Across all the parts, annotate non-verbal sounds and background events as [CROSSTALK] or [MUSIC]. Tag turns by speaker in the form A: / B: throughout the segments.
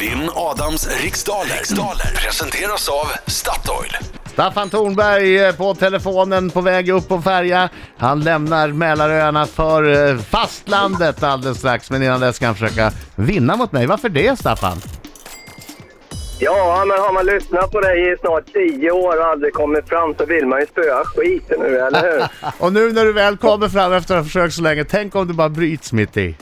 A: Vinn Adams riksdaler. riksdaler presenteras av Statoil.
B: Staffan Tornberg eh, på telefonen på väg upp på färja. Han lämnar Mälaröarna för eh, fastlandet alldeles strax. Men innan dess ska han försöka vinna mot mig. Varför det Staffan?
C: Ja, men har man lyssnat på dig i snart tio år och aldrig kommit fram så vill man ju spöa skiten nu, eller
D: [LAUGHS]
C: hur?
B: [LAUGHS] Och nu när du väl kommer fram efter att ha försökt så länge, tänk om du bara bryts mitt i.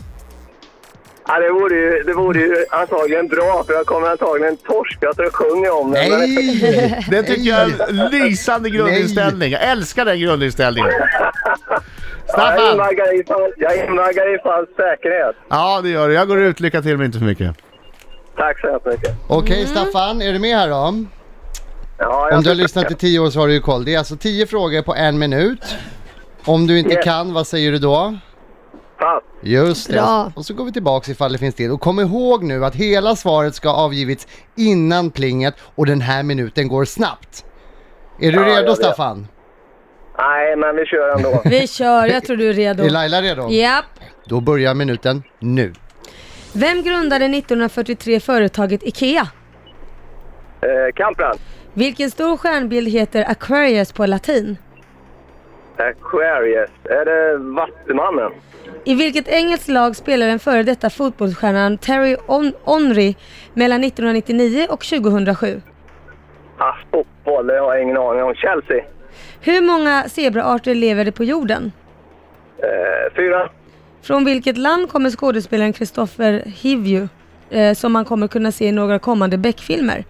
C: ja, det, vore ju, det vore ju antagligen bra, för jag kommer antagligen torska så det sjunger om det. Men,
B: Det tycker jag är [LAUGHS] en lysande grundinställning. Jag älskar den [LAUGHS] grundinställningen.
C: ja, jag,
B: Staffan!
C: invaggar i, fall- jag invaggar i falsk säkerhet.
B: Ja, det gör du. Jag går ut. Lycka till, men inte för mycket.
C: Tack så hemskt mycket.
D: [LAUGHS] Okej
E: Mm.
D: Staffan, är du med här då?
C: Ja, jag
D: Om du har
C: försöker.
D: lyssnat i tio år så har du ju koll. Det är alltså tio frågor på en minut. Om du inte
C: Yes.
D: kan, vad säger du då?
C: Pass.
D: Just det.
E: Bra.
D: Och så går vi tillbaks ifall det finns tid. Och kom ihåg nu att hela svaret ska ha avgivits innan plinget och den här minuten går snabbt. Är du
C: Ja, jag
D: redo
C: vet.
D: Staffan?
C: Nej, men vi kör
D: [LAUGHS]
C: ändå.
E: Vi kör, jag tror du är redo.
D: Är Laila redo?
E: Japp.
D: Då börjar minuten nu.
E: Vem grundade 1943 företaget IKEA?
C: eh, Kampran.
E: Vilken stor stjärnbild heter Aquarius på latin?
C: Aquarius. Är det Vattumannen?
E: I vilket engelskt lag spelar den före detta fotbollsstjärnan Terry On- Onry mellan 1999 och 2007?
C: Ah, fotboll, det har jag ingen aning om. Chelsea.
E: Hur många zebraarter lever det på jorden?
C: Eh, fyra.
E: Från vilket land kommer skådespelaren Christopher Hivju eh, som man kommer kunna se i några kommande Beck-filmer?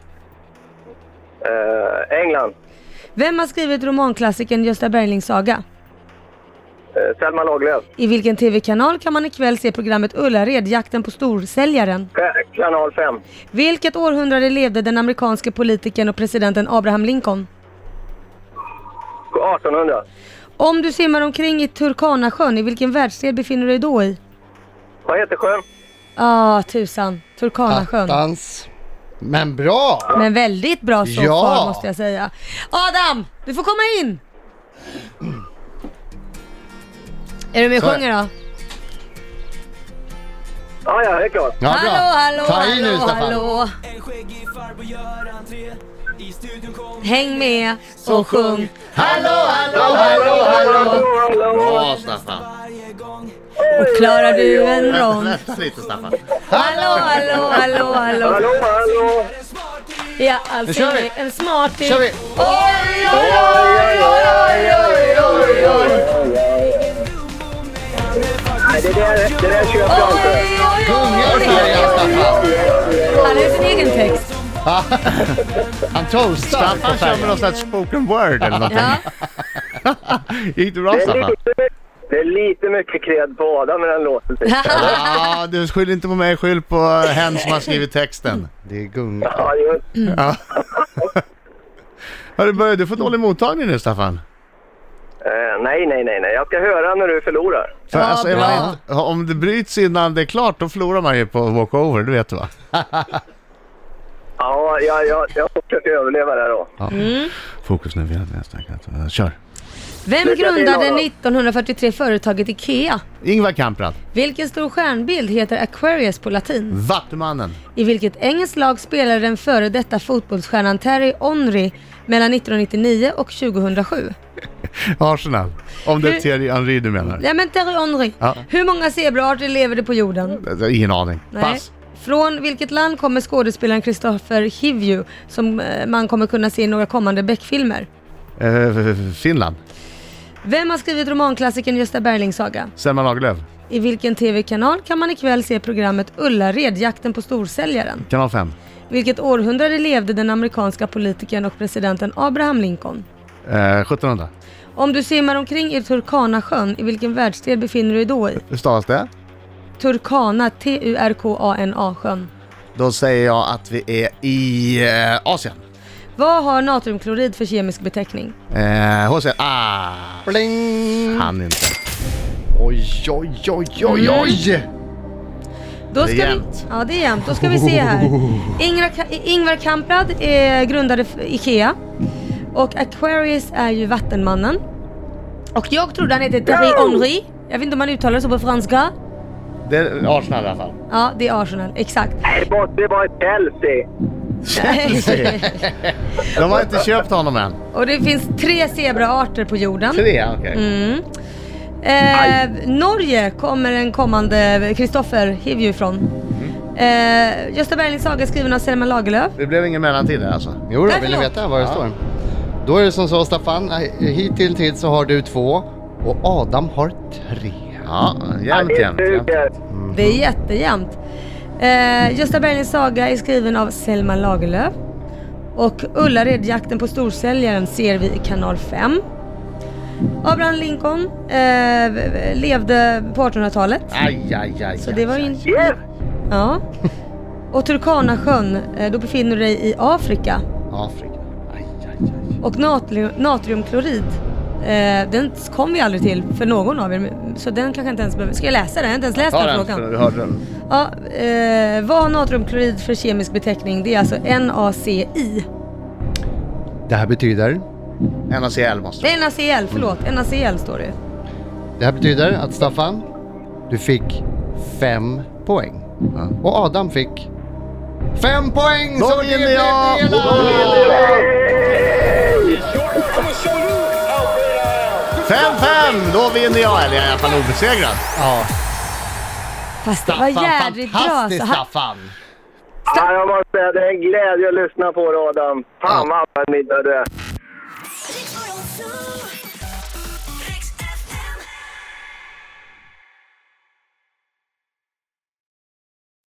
C: Eh, England.
E: Vem har skrivit romanklassikern Gösta Berlings saga?
C: Eh, Selma Lagerlöf.
E: I vilken TV-kanal kan man ikväll se programmet Ullared, jakten på storsäljaren?
C: Ka- Kanal 5.
E: Vilket århundrade levde den amerikanske politikern och presidenten Abraham Lincoln?
C: 1800.
E: Om du simmar omkring i Turkanasjön, i vilken världsdel befinner du dig då i?
C: Vad heter sjön?
E: Ah, tusan. Turkanasjön.
D: Attans. Men bra!
E: Men väldigt bra så
D: Ja.
E: far måste jag säga. Adam, du får komma in! Är du med och
D: Så.
E: sjunger då?
C: Ja, Ah, ja, det är klart.
D: Ja, bra.
E: Hallå, hallå,
D: Ta i
E: hallå,
D: nu Staffan.
E: hallå.
F: En skäggig farbror gör entré I studion kom
E: Häng med och sjung.
D: Hallå, hallå, hallå, hallå!
B: Bra, Staffan.
F: varje gång
E: Och klarar du en rond?
B: Vänta lite, Staffan.
E: Hallå, hallå, hallå, hallå.
C: Hallå, hallå!
E: Ja, alltså
D: kör vi.
E: jag är en smarting.
D: kör vi!
E: Oj, oj, oj, oj, oj, oj, oj, oj.
C: Nej, det där, det där köper jag inte.
E: Oj, oj,
D: Gungar
E: oj,
D: färgen
E: oj, oj.
D: Staffan!
E: Han har ju sin egen text.
D: Han toastar på
B: Staffan kör med
D: färgen.
B: någon slags spoken word eller någonting.
E: Ja. [LAUGHS]
D: [LAUGHS]
B: Gick det bra,
C: Det är
B: Staffan?
C: lite, det är lite mycket cred på Adam med den låten. tycker jag.
B: Ja, du skyll inte på mig, skyll på hen som har skrivit texten.
D: Det är gungar.
C: Ja, just.
B: Hörru, börjar du får dålig mottagning nu, Staffan.
C: Eh, nej, nej, nej, nej. Jag ska höra när du förlorar.
B: För
E: Ja,
B: alltså, är
E: bra.
B: man inte, om det bryts innan det är klart, då förlorar man ju på walkover, det vet du va?
C: Ja, jag, jag, jag försöker överleva där då.
B: Fokus nu, vi har nästan klart. Kör!
E: Vem
C: Lycka till,
E: grundade
C: Adam.
E: 1943 företaget IKEA?
B: Ingvar Kamprad,
E: Vilken stor stjärnbild heter Aquarius på latin?
B: Vattumannen.
E: I vilket engelskt lag spelade den före detta fotbollsstjärnan Terry Onry mellan 1999 och 2007?
B: Arsenal. Om det är
E: Hur-
B: Thierry Henry du menar.
E: Nej men Terry Onry,
B: Ja.
E: hur många zebraarter lever det på jorden?
B: Alltså, Ingen aning.
E: Nej.
B: Pass.
E: Från vilket land kommer skådespelaren Christopher Hivju som eh, man kommer kunna se i några kommande Beck-filmer?
B: Eh, Finland.
E: Vem har skrivit romanklassikern Gösta Berlings saga?
B: Selma Lagerlöf.
E: I vilken TV-kanal kan man ikväll se programmet Ullared, jakten på storsäljaren?
B: Kanal 5.
E: Vilket århundrade levde den amerikanska politikern och presidenten Abraham Lincoln?
B: Eh, 1700.
E: Om du simmar omkring i Turkanasjön, i vilken världsdel befinner du dig då i?
B: Hur stavas det?
E: Turkana, T-U-R-K-A-N-A-sjön.
B: Då säger jag att vi är i eh, Asien.
E: Vad har natriumklorid för kemisk beteckning?
B: Eh, HC. Ah!
D: Bling!
B: Han inte.
D: Oj, oj, oj, oj, oj!
E: Då ska
B: Det är jämnt.
E: Vi, ja, det är jämnt. Då ska vi
B: [LAUGHS]
E: se här. Ingra, Ingvar Kamprad eh, grundade f- IKEA. Och Aquarius är ju Vattenmannen. Och jag trodde han hette Thierry Henry. Jag vet inte om han uttalar det så på franska.
B: Det är Arsenal i alla fall.
E: Ja, det är Arsenal. Exakt.
C: Det måste vara ett Chelsea.
E: [LAUGHS]
B: Chelsea. De har inte köpt honom än.
E: Och det finns tre zebraarter på jorden.
B: Tre, okej.
E: Mm. Eh, Norge kommer en kommande Kristoffer Hiv ju ifrån.
B: Mm.
E: Eh, Gösta Berlings saga är skriven av Selma Lagerlöf.
B: Det blev ingen mellantid där alltså.
D: Jo då,
E: Nej,
D: vill ni
E: förlåt.
D: veta vad det
B: Ja.
D: står? Då är det som så Staffan, eh, hittills så har du två och Adam har tre.
B: Ja, jämnt,
C: det
B: jämnt. jämnt.
C: suger.
E: Det är jättejämnt. Eh, Gösta Berlings saga är skriven av Selma Lagerlöf. Och Ullared, jakten på storsäljaren ser vi i kanal 5. Abraham Lincoln eh, levde på 1800-talet.
B: Aj, aj, aj.
E: Så det var ju en
C: Yes!
E: Ja. Och Turkanasjön, eh, då befinner du dig i Afrika.
D: Afrika.
B: Aj, aj, aj.
E: Och natri- natriumklorid, eh, den kom vi aldrig till för någon av er. Så den kanske inte ens behöver... Ska jag läsa den? Jag har inte ens läst
B: Ta
E: den
B: den, för
E: frågan.
B: du hörde den.
E: Ja, eh, vad har natriumklorid för kemisk beteckning? Det är alltså NaCI.
D: Det här betyder?
B: NACL måste
E: Nej, NaCl, förlåt. NaCl står det.
D: Det här betyder att Staffan, du fick fem poäng. Och Adam fick fem poäng!
B: Då
D: så det
B: vinner
D: blev
B: jag!
D: hela!
B: Då vinner jag! 5-5! Då vinner jag, eller jag är i alla fall obesegrad.
D: Ja,
E: Fast det var
D: Staffan,
E: jädrigt bra
D: fantastiskt
E: alltså. Han-
D: Staffan!
C: Ja, jag måste säga, det är en glädje att lyssna på dig Adam. Fan vad bra middag du är.
G: Riks-FM.